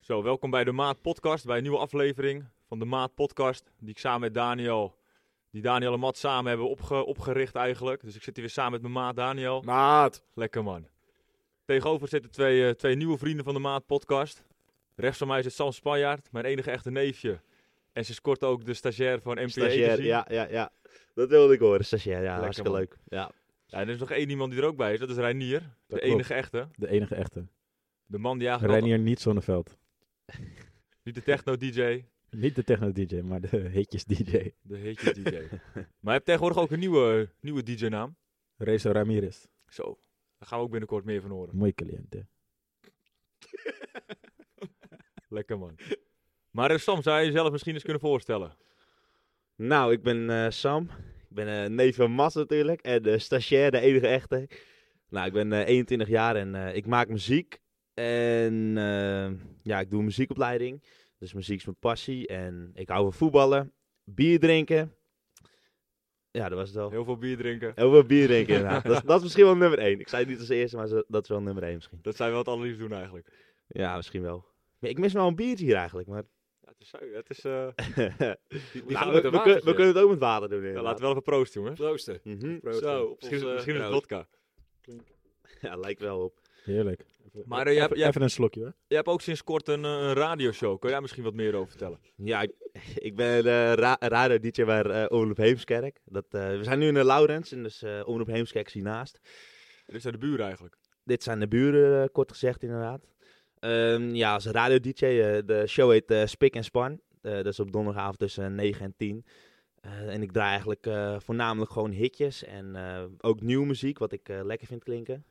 Zo, welkom bij de Maat Podcast, bij een nieuwe aflevering van de Maat Podcast. Die ik samen met Daniel, die Daniel en Matt samen hebben opge- opgericht eigenlijk. Dus ik zit hier weer samen met mijn maat Daniel. Maat. Lekker man. Tegenover zitten twee, eh, twee nieuwe vrienden van de Maat Podcast. Rechts van mij zit Sam Spanjaard, mijn enige echte neefje. En sinds kort ook de stagiair van NPA Stagiair, Agency. ja, ja, ja. Dat wilde ik horen, stagiair. Ja, hartstikke man. leuk. Ja. Ja, en er is nog één iemand die er ook bij is, dat is Reinier. de klopt. enige echte. De enige echte. De man die eigenlijk altijd- Reinier niet Zonneveld. niet de techno-dj, Niet de techno-dj, maar de hitjes-dj. de hitje dj. maar je hebt tegenwoordig ook een nieuwe, nieuwe dj-naam. Rezo Ramirez. Zo, daar gaan we ook binnenkort meer van horen. Mooie cliënt, hè. Lekker man. Maar eh, Sam, zou je jezelf misschien eens kunnen voorstellen? Nou, ik ben eh, Sam. Ik ben eh neef van Mas natuurlijk. En eh, stagiair, de enige echte. Nou, ik ben eh, 21 jaar en eh, ik maak muziek. En eh, ja, ik doe een muziekopleiding. Dus muziek is mijn passie. En ik hou van voetballen, bier drinken. Ja, dat was het al. Heel veel bier drinken. Heel veel bier drinken inderdaad. dat, is- dat is misschien wel nummer 1. Ik zei het niet als eerste, maar zo- dat is wel nummer 1 misschien. Dat zijn we wat allerliefst doen eigenlijk. Ja, misschien wel. Maar Ik mis wel een biertje hier eigenlijk, maar... Ja, het is zo, het is... eh, die Nou, gaan met een we, we kun- watertje. we kunnen het ook met water doen. Ja, inderdaad. laten we wel even proosten, jongens. Proosten. Mhm. Zo, Zo, op op misschien, onze- misschien is het nou. vodka. Ja, lijkt wel op. Heerlijk. Maar eh, jij, hebt, even, jij, hebt, even een slokje, hoor. jij hebt ook sinds kort een, eh, een radioshow. Kun jij misschien wat meer over vertellen? Ja, ik, ik ben eh ra radio-dj bij eh Omroep Heemskerk. Dat, eh, we zijn nu in de Laurens, en dus eh Omroep Heemskerk is hiernaast. Dit zijn de buren eigenlijk. Dit zijn de buren, eh, kort gezegd inderdaad. Ehm, ja, als radio-dj, eh, de show heet eh Spik en Span. Eh, dat is op donderdagavond tussen 9 en 10. Eh, en ik draai eigenlijk eh, voornamelijk gewoon hitjes en eh, ook nieuwe muziek, wat ik eh, lekker vind klinken.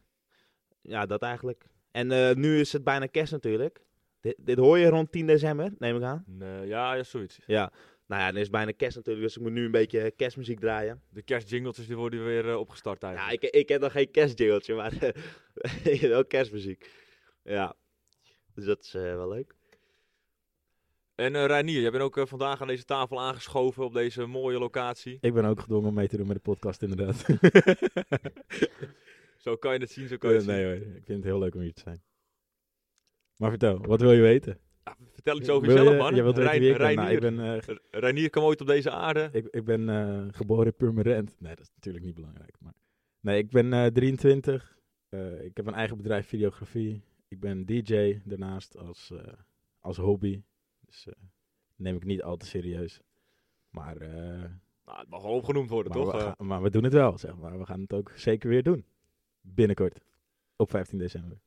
Ja, dat eigenlijk. En eh, nu is het bijna kerst natuurlijk. Dit, dit hoor je rond 10 december, neem ik aan. Nee, ja, ja, zoiets. Ja, nou ja, dan is het bijna kerst natuurlijk, dus ik moet nu een beetje kerstmuziek draaien. De kerstjingletjes die worden weer eh, opgestart Ja, eigenlijk. ik, ik heb nog geen kerstjingeltje, maar eh, ik heb wel kerstmuziek. Ja, dus dat is eh, wel leuk. En eh Reinier, jij bent ook eh, vandaag aan deze tafel aangeschoven op deze mooie locatie. Ik ben ook gedwongen om mee te doen met de podcast, inderdaad. Zo kan je het zien, zo kan je nee het zien. hoor, ik vind het heel leuk om hier te zijn. Maar vertel, wat wil je weten? Ja, vertel iets over Wil jezelf, je, man. Je wilt weten Rein- wie ik ben? Nou, Reinier. ik ben, eh, ge- R- Reinier kwam ooit op deze aarde. ik, ik ben eh, geboren in Purmerend. Nee, dat is natuurlijk niet belangrijk. Maar... Nee, ik ben eh, 23. Eh, ik heb een eigen bedrijf videografie. Ik ben DJ daarnaast als, eh, als hobby. Dus eh, neem ik niet al te serieus. Maar, eh, Nou, het mag wel opgenoemd worden, maar, toch? we Eh, gaan- maar we doen het wel, zeg maar. We gaan het ook zeker weer doen. Binnenkort. Op 15 december.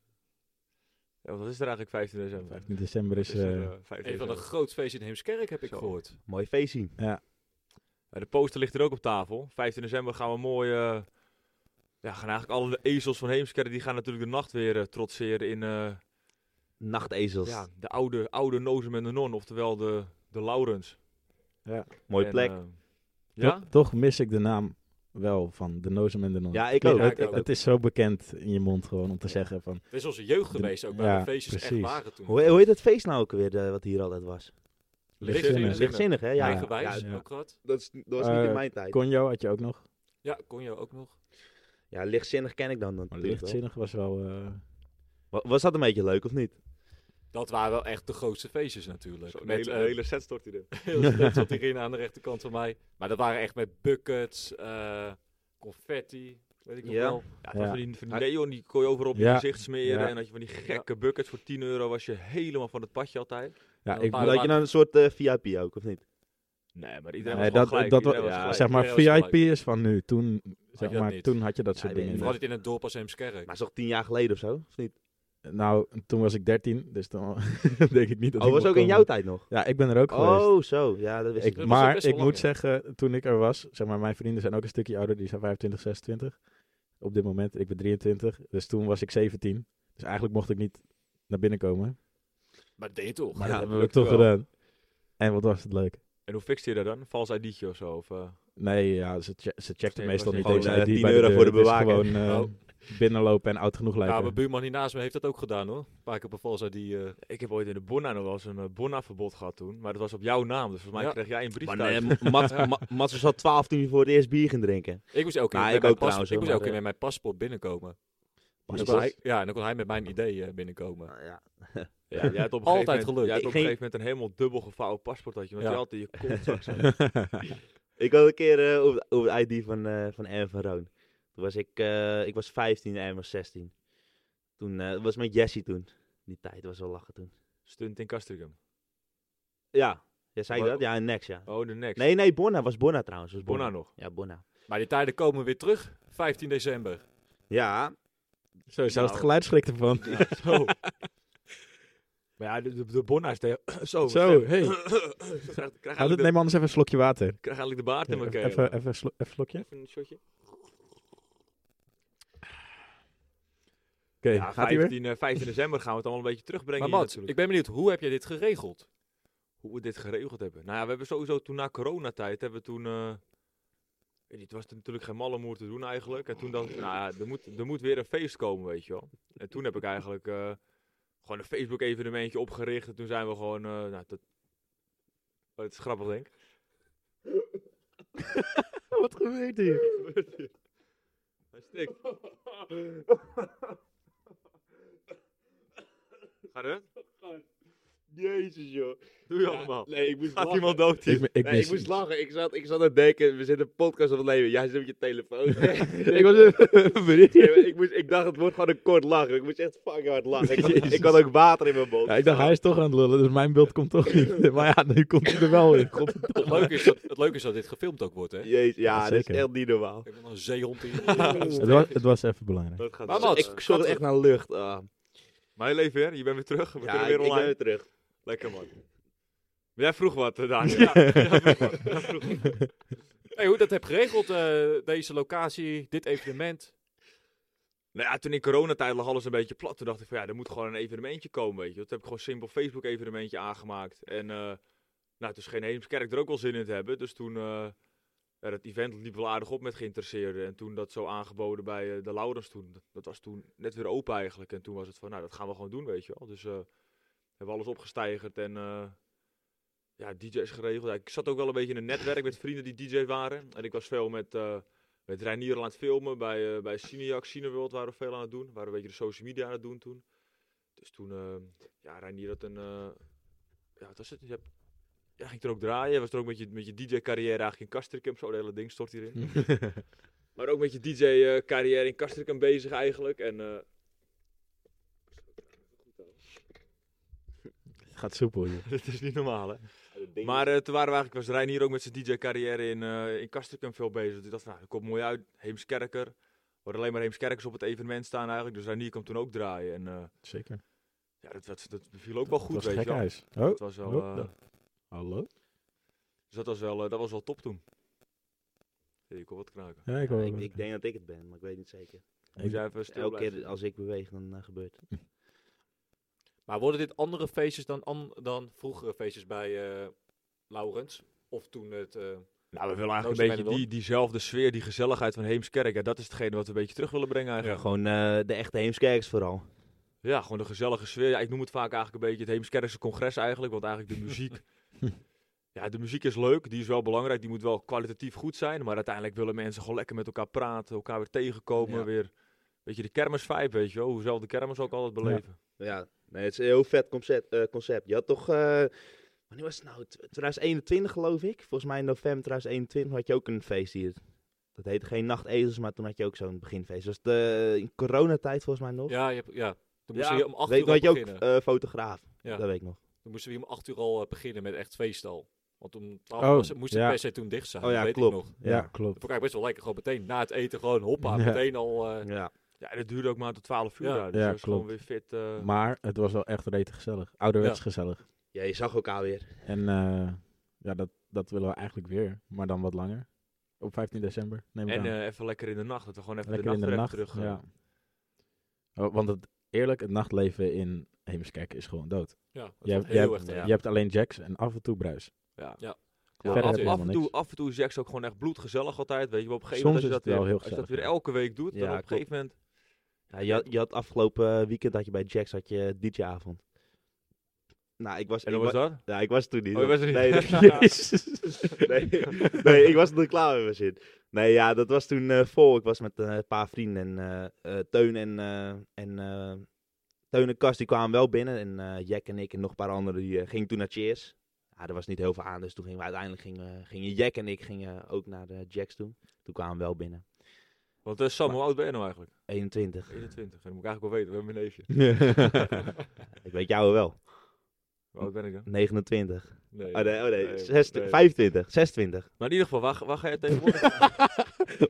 ja, want wat is er eigenlijk 15 december? 15 december is... Is er, eh, eh, 15 Een van de december. groot feesten in Heemskerk heb ik Zo. gehoord. Mooi feest zien. Ja, de poster ligt er ook op tafel. 15 december gaan we mooi... eh, ja, gaan eigenlijk alle ezels van Heemskerk, die gaan natuurlijk de nacht weer eh, trotseren in eh, Nachtezels. ja, de oude, oude Nozem en de Non, oftewel de, de Laurens. Mooie En, plek. eh, Toch- ja? Toch mis ik de naam wel van de Nozem en de Non. Ja, ik weet- ook. Het, Ja, ik ook. het is zo bekend in je mond gewoon om te zeggen van... Dat is onze jeugd geweest ook, waar Ja, de feestjes echt precies. waren toen. hoe, hoe heet dat feest nou ook weer, eh, wat hier altijd was? Lichtzinnen. Lichtzinnen. Lichtzinnig, hè? Ja, Ja. Eigenwijs, ja. ook gehad. Dat, is, dat was niet in Eh, mijn tijd. Conjo had je ook nog. Ja, kon je ook nog. Ja, lichtzinnig ken ik dan Maar natuurlijk wel. lichtzinnig was wel... eh, Wa- Was dat een beetje leuk of niet? Dat waren wel echt de grootste feestjes natuurlijk. Zo, de met hele, eh, de hele set stort hij er. heel slecht zat hierin aan de rechterkant van mij. Maar dat waren echt met buckets, eh, confetti, weet ik nog Ja. wel. Ja, Ja. van die, van die neon, die kon je overal op je Ja. gezicht smeren. Ja. En had je van die gekke buckets voor 10 euro, was je helemaal van het padje altijd. ja, Wel ik, een paar- Had je dan een soort eh, VIP ook, of niet? Nee, maar Nee, iedereen was dat, dat, gelijk. dat, iedereen wa- was ja, gelijk. zeg maar, Iedereen was VIP is van nu. Toen, zeg dat maar, niet. toen had je dat Ja, soort ik weet dingen. Vooral niet. dit in het dorp als Heemskerk. Maar is toch tien jaar geleden of zo, of niet? Nou, toen was ik 13, dus dan denk ik niet dat Oh, ik was wil ook in komen. jouw tijd nog? Ja, ik ben er ook geweest. Oh, zo. Ja, dat wist ik. Ik, Dat was ook maar best wel ik lang, moet zeggen, toen ik er was, zeg maar, mijn vrienden zijn ook een stukje ouder, die zijn 25, 26. Op dit moment, ik ben 23, dus toen was ik 17. Dus eigenlijk mocht ik niet naar binnen komen. Maar dat deed je toch? Maar Ja, dat hebben we lukt toch wel. gedaan. En wat was het leuk? En hoe fixte je dat dan? Vals ID'tje of zo? Of, eh, Nee, ja, ze, che- ze checkten Nee, meestal was niet niet- deze Gewoon, eh, ID 10 bij euro deur. voor de Het is bewaker. gewoon eh, Oh. binnenlopen en oud genoeg lijken. Ja, mijn buurman hier naast me heeft dat ook gedaan hoor. Een paar keer op een die... eh, ik heb ooit in de Bonna nog wel eens een eh, Bonna-verbod gehad toen. Maar dat was op jouw naam, dus volgens mij Ja. kreeg jij een brief Maar thuis. nee, Ma- Mats- Ma- Mats was al 12 toen hij voor het eerst bier ging drinken. Ik moest elke keer, Nou, met, ik mijn ook pas- trouwens, ik moest hoor, elke maar, keer met mijn paspoort binnenkomen. Dus Pas kon op. hij, ja, en dan kon hij met mijn idee eh, binnenkomen. Nou ja. Ja, jij had op Altijd een gegeven moment, gelukt. Jij had op Ik een ging- gegeven moment een helemaal dubbel gevouwen paspoort had je, want Ja. je had in je kontzak zat. Ik had een keer eh, op, de- op het ID van, eh van Erwin van Roon. Toen was ik, eh, ik was 15 en Erwin was 16. Toen eh, was met Jesse toen. Die tijd was wel lachen toen. Stunt in Castricum. Ja, ja zei ik Wa- dat? Ja, Nex, ja. Oh, de next. Nee, nee, Bonna. Was Bonna trouwens. Was Bonna. Bonna nog. Ja, Bonna. Maar die tijden komen weer terug, 15 december. Ja, Zo, zelfs Nou. het geluid schrikt ervan. Ja, zo. maar ja, de, de, de Bonna is tegen... Zo, Zo, Ik hey. krijg, ik krijg, Houd het, eigenlijk neem de, anders even een slokje water. krijg eigenlijk de baard in mijn even, keel. even, een slo- even een slokje. Oké, Even een shotje. Ja, gaat hij weer? 15, eh, 15 december gaan we het allemaal een beetje terugbrengen Maar hier Mats, natuurlijk. ik ben benieuwd, hoe heb jij dit geregeld? Hoe we dit geregeld hebben. Nou ja, we hebben sowieso toen na coronatijd hebben we toen... eh, weet niet, het was natuurlijk geen malle moer te doen eigenlijk. En toen dacht ik, nou ja, er moet, er moet weer een feest komen, weet je wel. En toen heb ik eigenlijk eh, gewoon een Facebook evenementje opgericht. En toen zijn we gewoon... eh, nou, dat... Oh, het is grappig, denk ik. Oh, Wat gebeurt hier? Hij stikt. Gaat het? Jezus, joh. Doe je allemaal. Nee, ik moest Gaat iemand dood hier? Ik, ik, Nee, mis ik moest iets. lachen. Ik zat, ik zat aan het denken, we zitten een podcast op het leven. Jij zit met je telefoon. Ik was even Nee, benieuwd. maar ik, moest, ik dacht, het wordt gewoon een kort lachen. Ik moest echt fucking hard lachen. Ik had, Jezus. ik had ook water in mijn mond. Ja, ik dacht, hij is toch aan het lullen, dus mijn beeld komt toch niet. Maar ja, nu komt hij er wel in. Godverdomme. Het leuke is dat, het leuke is dat dit gefilmd ook wordt, hè? Ik Jezus, ja, Ja, dat is zeker. echt niet normaal. heb nog een zeehond in. Het was, het was even belangrijk. Dat gaat Maar Mats, ik zocht gaat- echt naar lucht. ah. Maar je leeft weer, je bent weer terug. We Ja, kunnen ik, weer ik ben online. weer terug. Lekker man. Maar Jij vroeg wat, eh, Daniel. Ja, jij vroeg wat. Jij vroeg wat. Hey, hoe je dat heb geregeld, eh, deze locatie, dit evenement. Nou ja, toen in coronatijd lag alles een beetje plat. Toen dacht ik van ja, er moet gewoon een evenementje komen, weet je. Toen heb ik gewoon simpel Facebook evenementje aangemaakt. En eh nou, toen scheen Heemskerk er ook wel zin in te hebben. Dus toen, eh ja, dat event liep wel aardig op met geïnteresseerden. En toen dat zo aangeboden bij eh, de Laurens toen. Dat, dat was toen net weer open eigenlijk. En toen was het van, nou, dat gaan we gewoon doen, weet je wel. Dus eh hebben we alles opgestijgerd en... eh, ja, DJ's geregeld. Ja, ik zat ook wel een beetje in een netwerk met vrienden die DJ waren. En ik was veel met eh, met Reinier al aan het filmen bij, eh, bij Cineac, Cineworld waren we veel aan het doen. Waren we een beetje de social media aan het doen toen. Dus toen, eh, ja, Reinier had een, eh, ja, wat was het? Je hebt, ja, ging er ook draaien. Hij was er ook met je, met je DJ-carrière eigenlijk in Castricum. Zo, het hele ding stort hierin. Maar ook met je DJ-carrière in Castricum bezig eigenlijk. En eh, Het gaat soepel, joh. dit is niet normaal, hè? Maar eh, toen waren we eigenlijk, was Reinier ook met zijn DJ-carrière in, eh in Castricum veel bezig. Dus ik dacht, van, nou, dat komt mooi uit. Heemskerker. We hadden alleen maar Heemskerkers op het evenement staan eigenlijk. Dus Reinier kwam toen ook draaien. En eh, Zeker. Ja, dat, dat, dat beviel ook wel goed, het was weet je gek wel. huis. Oh, Dat was wel, oh, eh, da- hallo? dus dat was wel, eh, dat was wel top toen. Hey, ik hoor wat knaken. Ja, ik, hoor ik, wat. ik denk dat ik het ben, maar ik weet niet zeker. Moet jij even stil Elke keer blijven? als ik beweeg, dan eh, gebeurt het. Maar worden dit andere feestjes dan, an- dan vroegere feestjes bij eh Laurens? Of toen het... eh, Nou, we willen eigenlijk Roosje een beetje Benidorm. die, diezelfde sfeer, die gezelligheid van Heemskerk. Ja, dat is hetgene wat we een beetje terug willen brengen eigenlijk. Gewoon eh, de echte Heemskerks vooral. Ja, gewoon de gezellige sfeer. Ja, ik noem het vaak eigenlijk een beetje het Heemskerkse congres eigenlijk. Want eigenlijk de muziek... ja, de muziek is leuk. Die is wel belangrijk. Die moet wel kwalitatief goed zijn. Maar uiteindelijk willen mensen gewoon lekker met elkaar praten. Elkaar weer tegenkomen. Ja. Weer een beetje de kermisvibe, weet je wel. Hoe zelf de kermis ook altijd beleven. Ja, nee, het is een heel vet concept. eh, concept. Je had toch, eh wanneer was het nou? Tw- 2021 geloof ik. Volgens mij in november 2021 had je ook een feest hier. Dat heette geen nachtezels, maar toen had je ook zo'n beginfeest. Dat was de, in coronatijd volgens mij nog. ja, je hebt, ja, toen moesten Ja, we hier om acht weet uur je, had je al ook beginnen. eh, fotograaf. Ja. Dat weet ik nog. Toen moesten we hier om acht uur al eh, beginnen met echt feestal. Want om 12 Oh, was het- moest het ja. per se toen dicht zijn, Oh ja, dat weet klopt. ik nog. Ja, klopt. Dat vond ik eigenlijk best wel lekker, gewoon meteen na het eten gewoon hoppa, Ja. meteen al... eh, Ja. Ja, en dat duurde ook maar tot 12 uur Ja. daar. Dus Ja, dat is gewoon klopt. weer fit. eh, Maar het was wel echt rete gezellig. Ouderwets gezellig. ja, je zag elkaar weer. En eh, ja, dat, dat willen we eigenlijk weer. Maar dan wat langer. Op 15 december neem ik En aan. eh, even lekker in de nacht. Dat we gewoon even Lekker de in nacht, de er nacht. even terug. eh, ja. Oh, Want het, eerlijk, het nachtleven in Heemskerk is gewoon dood. ja, dat vond Je hebt, ik je, heel hebt, erg te- je hebt alleen Jacks en af en toe Bruis. ja, Verder heb af, je af, en helemaal toe, niks. af en toe is Jacks ook gewoon echt bloedgezellig altijd. Weet je, maar op een gegeven Soms moment als is het je, dat wel weer, heel als je dat weer gezellig, elke week doet, Ja, dan op een klopt. gegeven moment... Ja, je, had, je had afgelopen eh, weekend had je bij Jax had je DJ-avond. Nou, ik was... En dan ik was wa- dat? Ja, ik was toen niet. Oh, je was er niet. Nee, nee. nee, nee, ik was er nog klaar mee mijn zin. Nee, ja, dat was toen eh, vol. Ik was met eh, een paar vrienden en eh, eh, Teun en, eh, en eh, Teun en Kas die kwamen wel binnen. En eh, Jack en ik en nog een paar anderen die eh, gingen toen naar Cheers. Ja, er was niet heel veel aan, dus toen gingen we uiteindelijk gingen, gingen Jack en ik gingen ook naar de Jacks toen. Toen kwamen we wel binnen. Want eh, Sam, hoe oud ben je nou eigenlijk? 21. 21. Dat moet ik eigenlijk wel weten. We hebben een neefje. ik weet jou wel. Hoe oud ben ik dan? 29. Nee. Oh nee, oh nee. Nee, Zes- nee. 25. 26. Maar in ieder geval, waar, ga- waar ga jij tegenwoordig?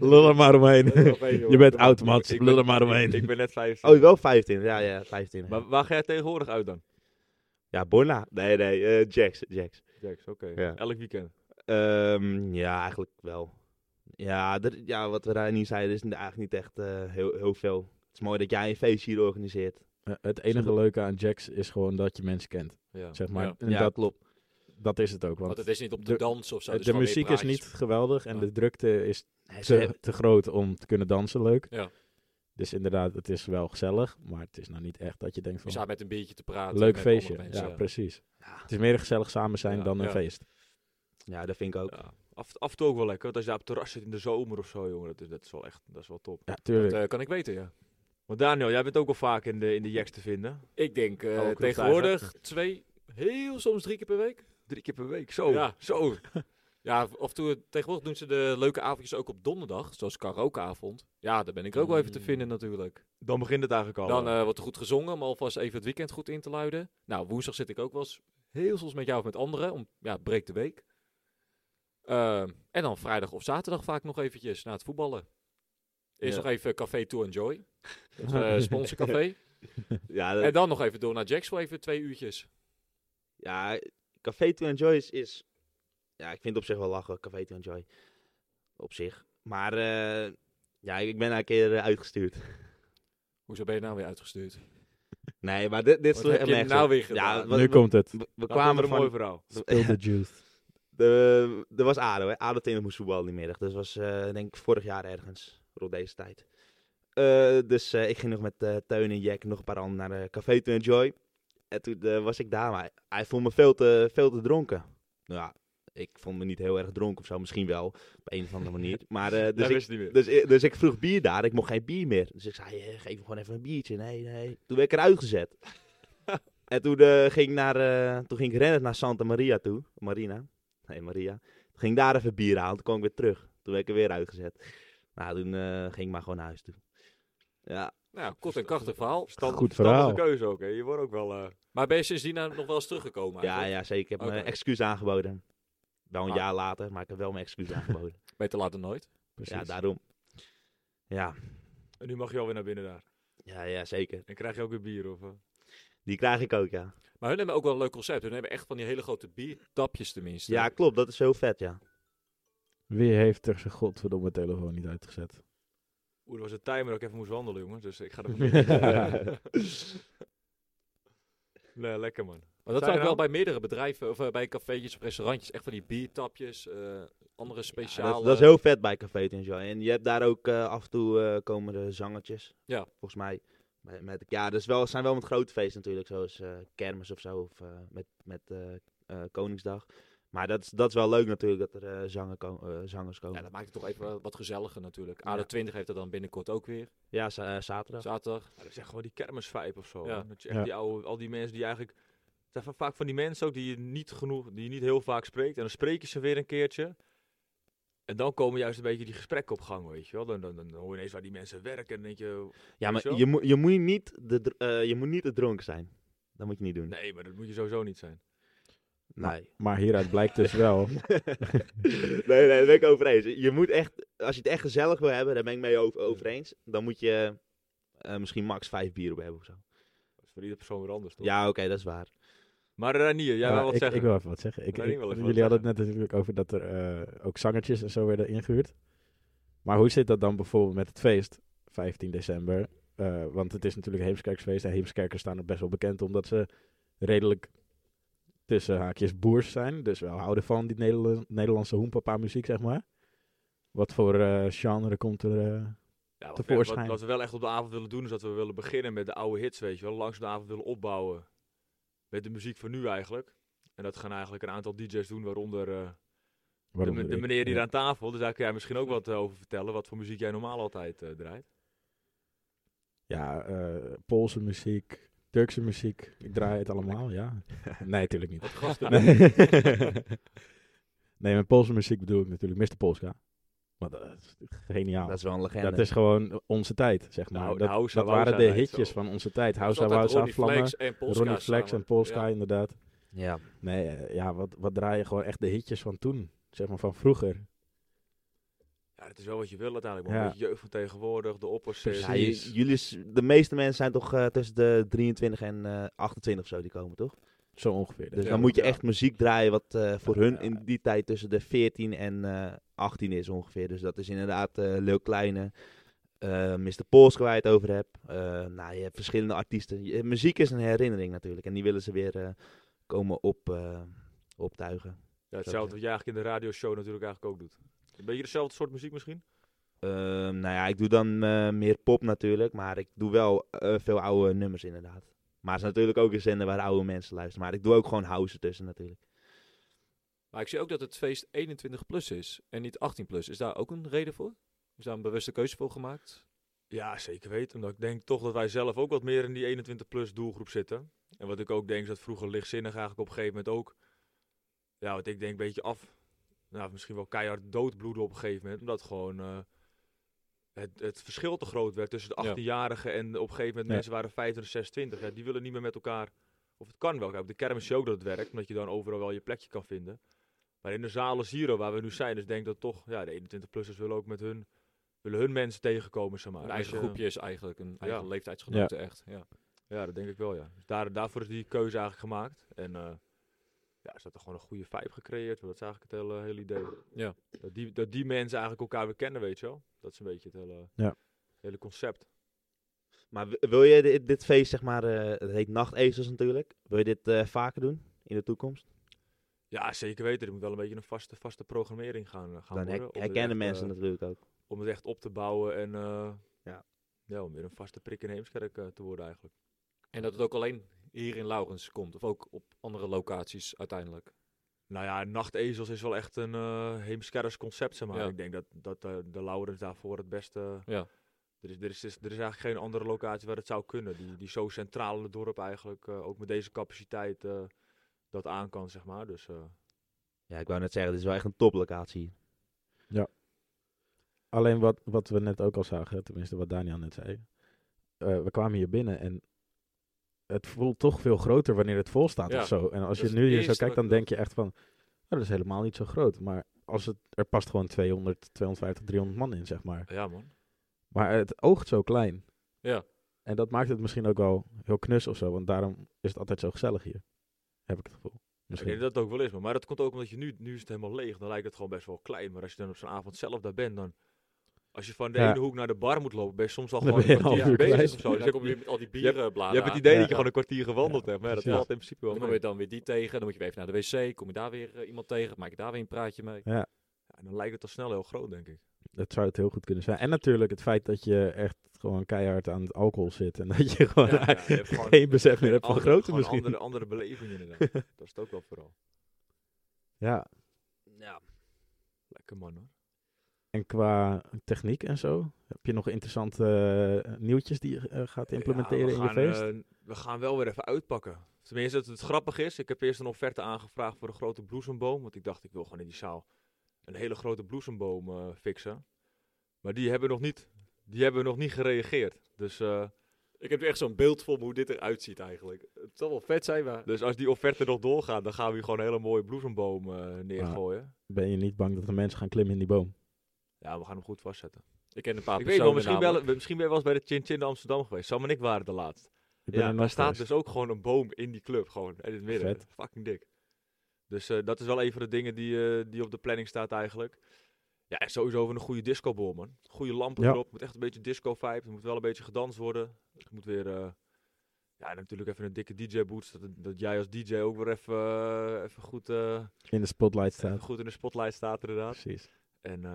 Lul er maar omheen. Je bent oud, Mats. maat. Lul er maar omheen. Ik, ik ben net 25. Oh, wel 25. Ja, ja, 25. Maar waar ga jij tegenwoordig uit dan? Ja, Borla. Nee, nee, eh, Jax. Jax. Jax, oké. Ja. Elk weekend. Ehm, ja, eigenlijk wel. Ja, er- ja, wat we daar nu zeiden is eigenlijk niet echt eh, heel, heel veel. Het is mooi dat jij een feestje hier organiseert. Eh, Het enige Zonder- leuke aan Jax is gewoon dat je mensen kent. Ja. Zeg maar. Ja. En ja, dat, klopt. dat is het ook. Want Want het is niet op de, de- dans of zo. eh, dus de gewoon weer muziek is niet praatjes. geweldig en Ah. de drukte is Nee, ze hebben- te, te groot om te kunnen dansen leuk. Ja. Dus inderdaad, het is wel gezellig, maar het is nou niet echt dat je denkt Je van... staat met een biertje te praten. Leuk met feestje. andere mensen, Ja, precies. Ja. Het is meer een gezellig samen zijn Ja, dan een ja. feest. ja, dat vind ik ook. Ja. Af, af en toe ook wel lekker. Want als je daar op het terras zit in de zomer of zo, jongen, dat is, dat is wel echt dat is wel top. Ja, Dat tuurlijk. eh, kan ik weten, ja. Want Daniel, jij bent ook wel vaak in de, in de Jax te vinden. Ik denk eh, Oh, klopt tegenwoordig twee, heel soms drie keer per week. Drie keer per week. Zo. Ja. Zo. Ja, of toen, tegenwoordig doen ze de leuke avondjes ook op donderdag, zoals karaokeavond. Ja, daar ben ik ook wel even te Mm. vinden natuurlijk. Dan begint het eigenlijk al. Dan eh, wordt er goed gezongen, om alvast even het weekend goed in te luiden. Nou, woensdag zit ik ook wel eens heel soms met jou of met anderen, om, ja, breek de week. Ehm, en dan vrijdag of zaterdag vaak nog eventjes na het voetballen. Eerst Ja. nog even Café To Enjoy, dat is, eh, sponsorcafé. Ja, dat- en dan nog even door naar Jack's voor even twee uurtjes. ja Café to Enjoy is, is... Ja, ik vind het op zich wel lachen, Café to Enjoy. Op zich. Maar eh, ja, ik ben daar een keer eh, uitgestuurd. Hoezo ben je nou weer uitgestuurd? Nee, maar dit, dit Wat sloeg heb je helemaal nou nergens weer op. gedaan? Ja, we, nu we- komt het. we- we Dan komt er kwamen een van... mooi verhaal. Spill the juice. De, Eh, er was ADO, hè. ADO tegen moest voetballen die middag. Dus dat was, eh, denk ik, vorig jaar ergens, rond deze tijd. Eh, dus eh, ik ging nog met eh, Teun en Jack en nog een paar anderen naar de Café to Enjoy. En toen eh, was ik daar, maar hij vond me veel te, veel te dronken. Nou ja, ik vond me niet heel erg dronken of zo, misschien wel, op een of andere manier. Maar, eh, dus, dat ik, wist niet meer. dus, ik- dus ik vroeg bier daar, ik mocht geen bier meer. Dus ik zei, eh, geef me gewoon even een biertje. Nee, nee. Toen werd ik eruit gezet. en toen, eh, ging ik naar, eh, toen ging ik rennen naar Santa Maria toe, Marina. Nee, Maria. Toen ging ik daar even bier halen, toen kwam ik weer terug. Toen werd ik er weer uitgezet. Nou, toen eh, ging ik maar gewoon naar huis toe. Ja, Nou, kort en krachtig verhaal. Verstand- Goed verstandige verhaal. keuze ook, hè. Je wordt ook wel... eh, Maar ben je sindsdien nou nog wel eens teruggekomen ja, eigenlijk? ja zeker. Ik heb Oké. mijn excuus aangeboden. Wel een Ah. jaar later, maar ik heb wel mijn excuus aangeboden. Beter laat dan nooit. ja, Precies. daarom. Ja. en nu mag je alweer naar binnen daar. ja, ja, zeker. En krijg je ook weer bier, of... eh? Die krijg ik ook, ja. Maar hun hebben ook wel een leuk concept. Hun hebben echt van die hele grote biertapjes tenminste. Ja, klopt. Dat is heel vet, ja. Wie heeft er zijn godverdomme telefoon niet uitgezet? Oeh, er was een timer dat ik even moest wandelen, jongens. Dus ik ga er Nee, lekker, man. maar dat Zijn zijn er wel al? bij meerdere bedrijven, of eh, bij cafeetjes of restaurantjes, echt van die biertapjes, eh, andere speciale... Ja, dat, dat is heel vet bij Café Tenjo. En je hebt daar ook eh, af en toe eh, komen de zangertjes. Ja. Volgens mij. Met, met, ja, dus wel, zijn wel met grote feesten natuurlijk, zoals eh, kermis of zo, of eh, met, met eh, eh, Koningsdag. Maar dat is, dat is wel leuk natuurlijk, dat er eh, zanger ko- eh, zangers komen. Ja, Ja, dat maakt het toch even wel wat gezelliger natuurlijk. Ja. AD20 heeft dat dan binnenkort ook weer, za- eh, zaterdag. zaterdag. Ja, dat is echt gewoon die kermisvibe of zo. Ja. hè. Dat je echt Ja. die oude, al die mensen die eigenlijk... Het zijn va- vaak van die mensen ook die je niet genoeg, die je niet heel vaak spreekt. En dan spreek je ze weer een keertje. En dan komen juist een beetje die gesprekken op gang, weet je wel. Dan, dan, dan hoor je ineens waar die mensen werken. En dan denk je, ja, weet je maar wel? je, moet je, moet niet de, dr- eh, je moet niet te dronken zijn. Dat moet je niet doen. nee, maar dat moet je sowieso niet zijn. Nee. Maar hieruit blijkt dus wel. nee, nee, daar ben ik over eens. Je moet echt, als je het echt gezellig wil hebben, daar ben ik mee over, over eens. Dan moet je eh, misschien max vijf bier op hebben of zo. Dat is voor iedere persoon weer anders, toch? Ja, oké, dat is waar. Maar eh, Ranier, jij Ja, wil wat ik, zeggen. ik wil even wat zeggen. Ik, Ranier ik- wil even wat jullie hadden het net natuurlijk over dat er eh, ook zangertjes en zo werden ingehuurd. Maar hoe zit dat dan bijvoorbeeld met het feest 15 december? Eh, want het is natuurlijk Heemskerksfeest en Heemskerkers staan er best wel bekend omdat ze redelijk tussen haakjes boers zijn. Dus wel houden van die Nederla- Nederlandse hoempapa muziek, zeg maar. Wat voor eh, genre komt er? eh? Ja, wat, we, wat, tevoorschijn. wat we wel echt op de avond willen doen, is dat we willen beginnen met de oude hits, weet je wel. Langs de avond willen opbouwen. Met de muziek van nu eigenlijk. En dat gaan eigenlijk een aantal DJ's doen, waaronder eh De, Waarom me- doe de ik? meneer hier Ja. aan tafel, dus daar kun jij misschien ook wat eh, over vertellen. Wat voor muziek jij normaal altijd eh, draait. Ja, eh, Poolse muziek, Turkse muziek. Ik draai het allemaal, ja. Nee, natuurlijk niet. Wat gasten. Nee. nee, met Poolse muziek bedoel ik natuurlijk Mr. Polska. Maar dat is geniaal. Dat Dat eh, is wel een is, legende. gewoon onze tijd, zeg maar. Nou, de dat Hausa dat waren de Wausa-tijd hitjes zo. van onze tijd. Dat is Hausa, altijd Wausa, Ronnie Vlammen, Flex en Polska Ronnie Flex en samen. Polska, Ja. inderdaad. Ja. Nee, eh, ja, wat, wat draai je gewoon echt de hitjes van toen? Zeg maar van vroeger. Ja, dat is wel wat je wil uiteindelijk. Maar Ja. een beetje jeugd van tegenwoordig, de oppers. eh, Ja, Precies. j- jullie, s- de meeste mensen zijn toch eh, tussen de 23 en eh, 28 of zo die komen, toch? Zo ongeveer. Dus ja. dan moet je ja. echt muziek draaien wat eh, voor Ja, hun ja. in die tijd tussen de 14 en eh, 18 is ongeveer. Dus dat is inderdaad eh Leo Kleine, eh Mr. Polska waar je het over hebt. Eh, nou, je hebt verschillende artiesten. Je- muziek is een herinnering natuurlijk en die willen ze weer eh, komen op, eh, optuigen. Ja, hetzelfde wat jij eigenlijk in de radioshow natuurlijk eigenlijk ook doet. Een beetje dezelfde soort muziek misschien? Ehm, nou ja, ik doe dan eh, meer pop natuurlijk, maar ik doe wel eh, veel oude nummers inderdaad. Maar het is natuurlijk ook een zender waar oude mensen luisteren. Maar ik doe ook gewoon house tussen natuurlijk. Maar ik zie ook dat het feest 21 plus is en niet 18 plus. Is daar ook een reden voor? Is daar een bewuste keuze voor gemaakt? Ja, zeker weten. Omdat ik denk toch dat wij zelf ook wat meer in die 21-plus doelgroep zitten. En wat ik ook denk is dat vroeger lichtzinnig eigenlijk op een gegeven moment ook... Ja, wat ik denk een beetje af... Nou, misschien wel keihard doodbloeden op een gegeven moment. Omdat gewoon eh, het, het verschil te groot werd tussen de Ja. 18-jarigen en op een gegeven moment Ja. mensen waren 25, 26. Ja, die willen niet meer met elkaar... Of het kan wel. Kijk, op de kermis zie je ook dat het werkt. Omdat je dan overal wel je plekje kan vinden. Maar in de zalen Zero waar we nu zijn, dus denk dat toch... Ja, de 21-plussers willen ook met hun... Willen hun mensen tegenkomen, zeg maar. een Dus, eigen eh, groepje is eigenlijk een eigen Ja. leeftijdsgenote echt. Ja. ja, dat denk ik wel, ja. Dus daar, daarvoor is die keuze eigenlijk gemaakt. En eh, ja, is dat er gewoon een goede vibe gecreëerd. wordt. Dat is eigenlijk het hele, hele idee. Ja. Dat, die, dat die mensen eigenlijk elkaar weer kennen, weet je wel. Dat is een beetje het hele, Ja. hele concept. Maar wi- wil je dit, dit feest, zeg maar, eh, het heet Nachtezels natuurlijk. Wil je dit eh, vaker doen in de toekomst? Ja, zeker weten. Er moet wel een beetje een vaste, vaste programmering gaan, eh, gaan dan her- worden. om het herkennen echt, mensen eh, natuurlijk ook. om het echt op te bouwen en eh, Ja. ja, om weer een vaste prik in Heemskerk eh, te worden eigenlijk. En dat het ook alleen hier in Laurens komt. Of ook op andere locaties uiteindelijk. Nou ja, Nachtezels is wel echt een eh Heemskerks concept, zeg maar. Ja. Ik denk dat, dat eh, de Laurens daarvoor het beste... Ja. Er is, er, is, er is eigenlijk geen andere locatie waar het zou kunnen. Die, die zo centraal in het dorp eigenlijk, eh, ook met deze capaciteit, eh, dat aan kan, zeg maar. Dus eh, Ja, ik wou net zeggen, dit is wel echt een toplocatie. Alleen wat, wat we net ook al zagen, tenminste wat Daniel net zei. eh, we kwamen hier binnen en het voelt toch veel groter wanneer het vol staat Ja, of zo. En dat als je is nu het hier zo eerste wat kijkt, dan ik denk je echt van, nou, dat is helemaal niet zo groot. Maar als het, er past gewoon 200, 250, 300 man in, zeg maar. ja man. Maar het oogt zo klein. Ja. En dat maakt het misschien ook wel heel knus of zo, want daarom is het altijd zo gezellig hier. Heb ik het gevoel. Ik Misschien. denk dat dat ook wel is, maar, maar dat komt ook omdat je nu, nu is het helemaal leeg. Dan lijkt het gewoon best wel klein. Maar als je dan op zo'n avond zelf daar bent, dan... Als je van de Ja. ene hoek naar de bar moet lopen, ben je soms al Dan gewoon ben je een een half kwartier uur bezig kwijt. of zo. Dus dan je, kom je met al die hebt- bierenbladen je hebt het aan. idee Ja. dat je gewoon een kwartier gewandeld hebt. Maar ja, dat precies. valt in principe wel Dan kom mee. je dan weer die tegen. Dan moet je weer even naar de wc. Kom je daar weer eh, iemand tegen. Maak je daar weer een praatje mee. Ja, dan lijkt het al snel heel groot, denk ik. Dat zou het heel goed kunnen zijn. En natuurlijk het feit dat je echt gewoon keihard aan het alcohol zit. En dat je gewoon, Ja, ja, je hebt gewoon- geen besef meer hebt van Andere- grootte gewoon misschien. Andere, andere beleving inderdaad. dat is het ook wel vooral. Ja, Ja. Lekker man hoor. en qua techniek en zo. Heb je nog interessante eh, nieuwtjes die je eh, gaat implementeren Ja, we in je gaan, feest? eh, we gaan wel weer even uitpakken. Tenminste, dat het grappig is. Ik heb eerst een offerte aangevraagd voor een grote bloesemboom. Want ik dacht, ik wil gewoon in die zaal een hele grote bloesemboom eh, fixen. Maar die hebben nog niet, die hebben nog niet gereageerd. Dus, eh, Ik heb nu echt zo'n beeld voor me hoe dit eruit ziet eigenlijk. Het zal wel vet zijn, maar... dus als die offerte nog doorgaat, dan gaan we hier gewoon een hele mooie bloesemboom eh, neergooien. ben je niet bang dat de mensen gaan klimmen in die boom? Ja, we gaan hem goed vastzetten. Ik ken een paar ik weet personen wel, misschien, namelijk. wel, misschien ben je wel eens bij de Chin Chin in Amsterdam geweest. Sam en ik waren de laatst. Ik ben Ja, er daar nog staat geweest. dus ook gewoon een boom in die club, gewoon in het midden. Vet. Fucking dik. Dus eh, dat is wel een van de dingen die, eh, die op de planning staat eigenlijk. Ja, en sowieso van een goede discobol, man. Goede lampen Ja. erop, moet echt een beetje disco-vibe. Er moet wel een beetje gedanst worden. Er moet weer, eh, ja, en natuurlijk even een dikke DJ-boots. Dat, dat jij als DJ ook weer even, eh, even, goed, eh, in de spotlight even staat. goed in de spotlight staat, inderdaad. Precies. En eh,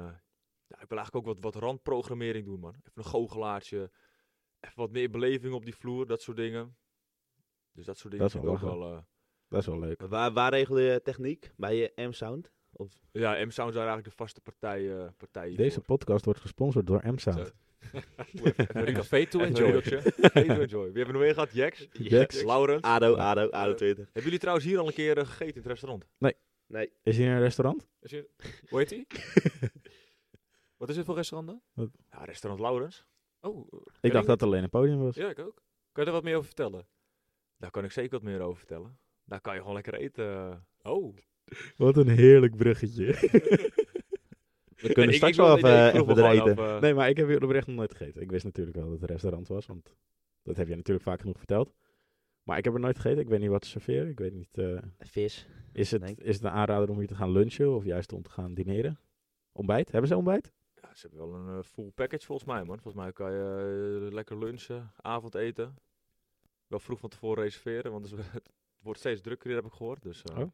ja, ik wil eigenlijk ook wat, wat randprogrammering doen, man. Even een goochelaartje. Even wat meer beleving op die vloer, dat soort dingen. Dus dat soort dingen Dat is vind ik wel ook wel... eh, Dat is wel leuk. Waar, waar regel je techniek? Bij je M-Sound? Of, eh, Ja, M-Sound zijn eigenlijk de vaste partij. eh, partij hiervoor. Deze podcast wordt gesponsord door M-Sound. Naar de café toe Even en een joy. middeltje. Even een joy. Wie hebben we nog meer gehad? Jax? Jax. Laurens? ADO, ADO, ADO 20. Hebben jullie trouwens hier al een keer eh, gegeten in het restaurant? Is hier een restaurant? Is hier- Hoe heet die? Wat is het voor restaurant dan? Ja, restaurant Laurens. Oh, eh, Ik ken dacht dat het alleen een podium was. Ja, ik ook. Kan je daar wat meer over vertellen? Daar kan ik zeker wat meer over vertellen. Daar kan je gewoon lekker eten. Oh, Wat een heerlijk bruggetje. We kunnen Ik- straks ik wil wel het niet, even, ik vroeg even me er gewoon eten. af, eh, Nee, maar ik heb hier oprecht nog nooit gegeten. Ik wist natuurlijk wel dat het een restaurant was, want dat heb je natuurlijk vaak genoeg verteld. Maar ik heb er nooit gegeten. Ik weet niet wat ze serveren. Ik weet niet... eh, Vis. Is het, Denk- is het een aanrader om hier te gaan lunchen of juist om te gaan dineren? Ontbijt? Hebben ze ontbijt? ja, ze hebben wel een eh, full package volgens mij, man. Volgens mij kan je eh, lekker lunchen, avondeten. Wel vroeg van tevoren reserveren, want het, het wordt steeds drukker hier, heb ik gehoord. Dus, eh, Oh.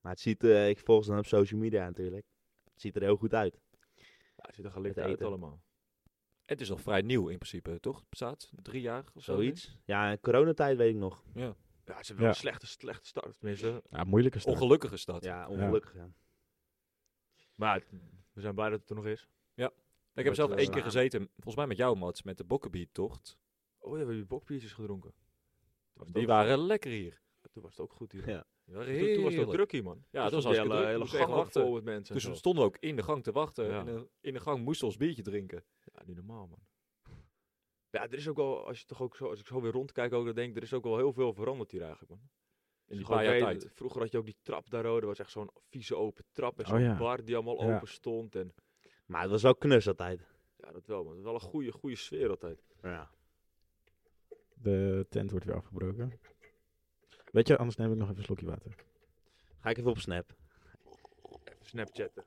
Maar het ziet, eh, ik volg ze dan op social media natuurlijk. Het ziet er heel goed uit. ja, het ziet er gelikt Met uit eten. allemaal. het is nog vrij nieuw in principe, toch? Bestaat drie jaar of zo? Zoiets. Ja, in coronatijd weet ik nog. Ja, ze hebben wel Ja. een slechte, slechte start, tenminste. Ja, moeilijke start. Ongelukkige stad. Ja, ongelukkig. Ja. Maar het- we zijn blij dat het er nog is. Ik heb Dat, zelf eh, één keer ja. gezeten, volgens mij met jou, Mats, met de Bokkenbiet-tocht. Oh, ja, we hebben hier bokbiertjes gedronken. Toen was het Die ook- waren lekker hier. Toen was het ook goed hier. Ja. Die waren Dus Toen, toen was het heerlijk. ook druk hier, man. Ja, dat was stond hartstikke hele- druk. hele Moest gang even ook wachten. vol met mensen. en Dus we zo. stonden ook in de gang te wachten. Ja. In, de, in de gang moesten we ons biertje drinken. Ja, niet normaal, man. Ja, er is ook wel, als je toch ook zo, als ik zo weer rondkijk, ook dan denk ik, er is ook wel heel veel veranderd hier eigenlijk, man. Dus In die Gewoon paar jaar bij- tijd. Vroeger had je ook die trap daar, hoor. dat was echt zo'n vieze open trap en Oh, zo'n ja. bar die allemaal Ja. open stond. En Maar het was wel knus altijd. ja, dat wel, man. Wel een goede, goede sfeer altijd. Ja. De tent wordt weer afgebroken. Weet je, anders neem ik nog even een slokje water. Ga ik even op snap. Even Snapchatten.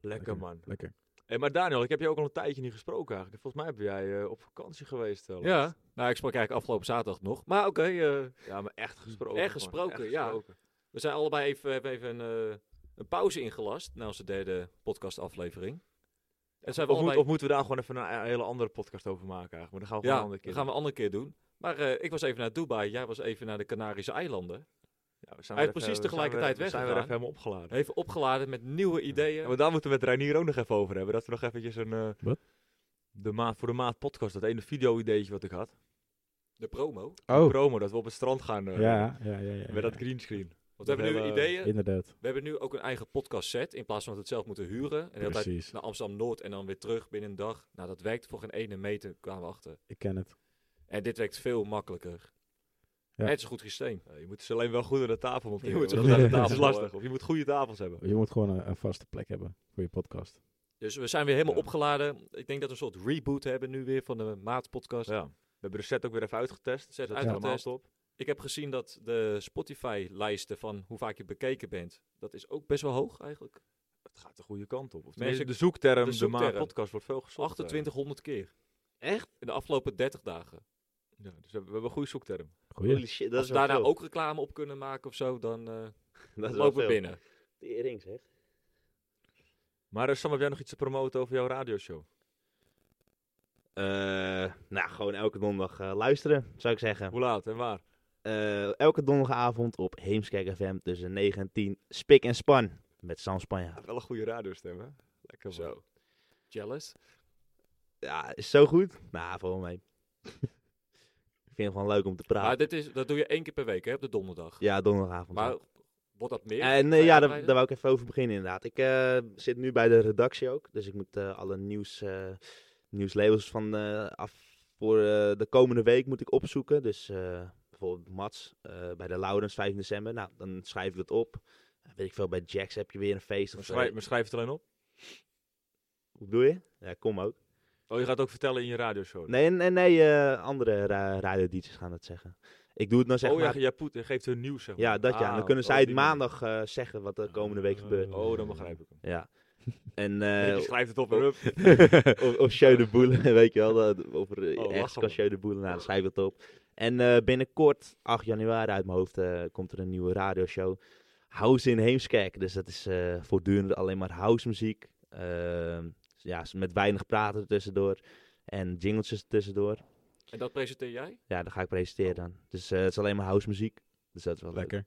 Lekker, man. Lekker. Hey, maar Daniel, ik heb je ook al een tijdje niet gesproken eigenlijk. Volgens mij ben jij eh, op vakantie geweest. eh, laatst. Ja, nou ik sprak eigenlijk afgelopen zaterdag nog. Maar oké, eh, Ja, maar echt gesproken. Echt man. gesproken, ja. we zijn allebei even, hebben even een, eh, een pauze ingelast na onze derde podcastaflevering. En zijn we Of, moet- allebei... of moeten we daar gewoon even een, een hele andere podcast over maken eigenlijk? Maar dan gaan we gewoon ja, een andere keer dat gaan we een andere keer doen. Maar eh, ik was even naar Dubai, jij was even naar de Canarische eilanden. Ja, we Hij is zijn weer even- precies we zijn tegelijkertijd weer- we zijn weer weggegaan. even helemaal opgeladen. Even opgeladen met nieuwe ideeën. Ja, maar daar moeten we het Reinier ook nog even over hebben. Dat we nog eventjes een... eh, Wat? De maat, voor de maat podcast, dat ene video-ideetje wat ik had. De promo. De Oh, promo, dat we op het strand gaan. eh, ja, ja, ja. ja, Met dat ja. greenscreen. Want we We hebben nu hebben- ideeën. Inderdaad. We hebben nu ook een eigen podcast set in plaats van dat we het zelf moeten huren. En altijd Precies. naar Amsterdam Noord en dan weer terug binnen een dag. Nou, dat werkt voor geen ene meter, kwamen we achter. Ik ken het. En dit werkt veel makkelijker. Ja. Het is een goed systeem. Ja, je moet ze alleen wel goed aan de tafel monteren. Je moet ze hoor. goed aan de Dat is tafel, lastig. Of je moet goede tafels hebben. Je moet gewoon een, een vaste plek hebben voor je podcast. Dus we zijn weer helemaal Ja. opgeladen. Ik denk dat we een soort reboot hebben nu weer van de Maat podcast. Ja. We hebben de set ook weer even uitgetest. Set Dus dat is helemaal uitgetest. top. Ik heb gezien dat de Spotify-lijsten van hoe vaak je bekeken bent, dat is ook best wel hoog eigenlijk. Het gaat de goede kant op. Of Mensen- tenminste, de zoekterm, de de, zoekterm. maat podcast wordt veel gezocht. eh. 2800 keer Echt? in de afgelopen 30 dagen. Ja, dus we hebben we hebben een goede zoekterm. Goeie. Holy shit, dat Als is we wel daarna veel. ook reclame op kunnen maken of zo, dan eh, dat is wel lopen we veel. binnen. Tering, zeg. Maar eh, Sam, heb jij nog iets te promoten over jouw radioshow? Eh, nou, gewoon elke donderdag eh, luisteren, zou ik zeggen. Hoe laat en waar? Eh, elke donderdagavond op Heemskerk FM tussen 9 en 10. Spik en span. Met Sam Ja, Spanjaard. wel een goede radiostem, hè? Lekker zo. Zo. Jealous? Ja, is zo goed? Nou, volgens mij. ik vind het gewoon leuk om te praten. Maar dit is, dat doe je één keer per week, hè, op de donderdag. Nou. Ja, donderdagavond. Maar wordt dat meer? En Ga eh, je ja, daar, uitbreiden? daar wou ik even over beginnen inderdaad. Ik eh, zit nu bij de redactie ook, dus ik moet eh, alle nieuws, eh, nieuwslabels van eh, af voor eh, de komende week moet ik opzoeken. Dus eh, bijvoorbeeld Mats eh, bij de Laurens 5 december. Nou, dan schrijf ik dat op. Eh, weet ik veel, bij Jax heb je weer een feest Maar of schrijf, zo. maar schrijf het alleen op. Hoe bedoel je? Ja, kom ook. Oh, je gaat ook vertellen in je radioshow. Nee, nee, nee eh, andere ra radio gaan dat zeggen. Ik doe het nou zeg oh, maar... ja, jij poet, geeft hun nieuws, zeg maar. Ja, dat ja. En Ah, dan kunnen op zij het die manier. maandag eh, zeggen wat de komende week gebeurt. Oh, dan begrijp ik hem. Ja. En je eh, schrijft het op en up. of, of Show de Boelen, weet je wel. Dat, of er, Oh, ergens lachen kan we. Show de Boelen, nou, dan schrijf ik dat op. En eh, binnenkort, 8 januari uit mijn hoofd, eh, komt er een nieuwe radioshow. House in Heemskerk. Dus dat is eh, voortdurend alleen maar housemuziek. Ehm, ja, s- met weinig praten tussendoor. En jingletjes tussendoor. En dat presenteer jij? Ja, dat ga ik presenteren dan. Dus eh, het is alleen maar housemuziek. Dus dat is wel leuk. Lekker.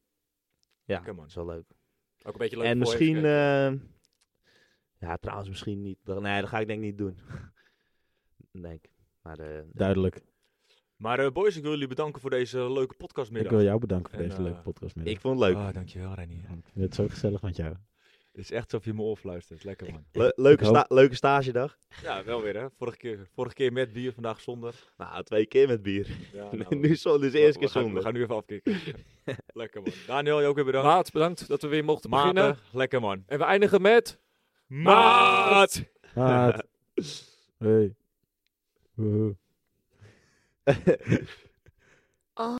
Ja, Lekker, man. dat is wel leuk. Ook een beetje leuk En voor heeft misschien... gekeken. eh, ja, trouwens misschien niet. Dat- Nee, dat ga ik denk ik niet doen. denk ik. Maar eh, Duidelijk. Maar eh, boys, ik wil jullie bedanken voor deze leuke Ik podcastmiddag. wil jou bedanken voor En, deze eh, leuke podcast. ik vond het leuk. Ah, dankjewel Renier. Het is zo gezellig met jou. Het is echt alsof je me opluistert. Lekker man. Le- leuke, ik hoop- sta- leuke stagedag. Ja, wel weer hè. Vorige keer, vorige keer met bier, vandaag zonder. Nou, twee keer met bier. Ja, nou, Nou, nu zo, dus de eerste keer we gaan, zonder. we gaan nu even afkicken. lekker man. Daniel, je ook weer bedankt. Maat, bedankt dat we weer mochten beginnen. eh. Maarten, lekker man. En we eindigen met... Maat! Maat. hey. Woehoe.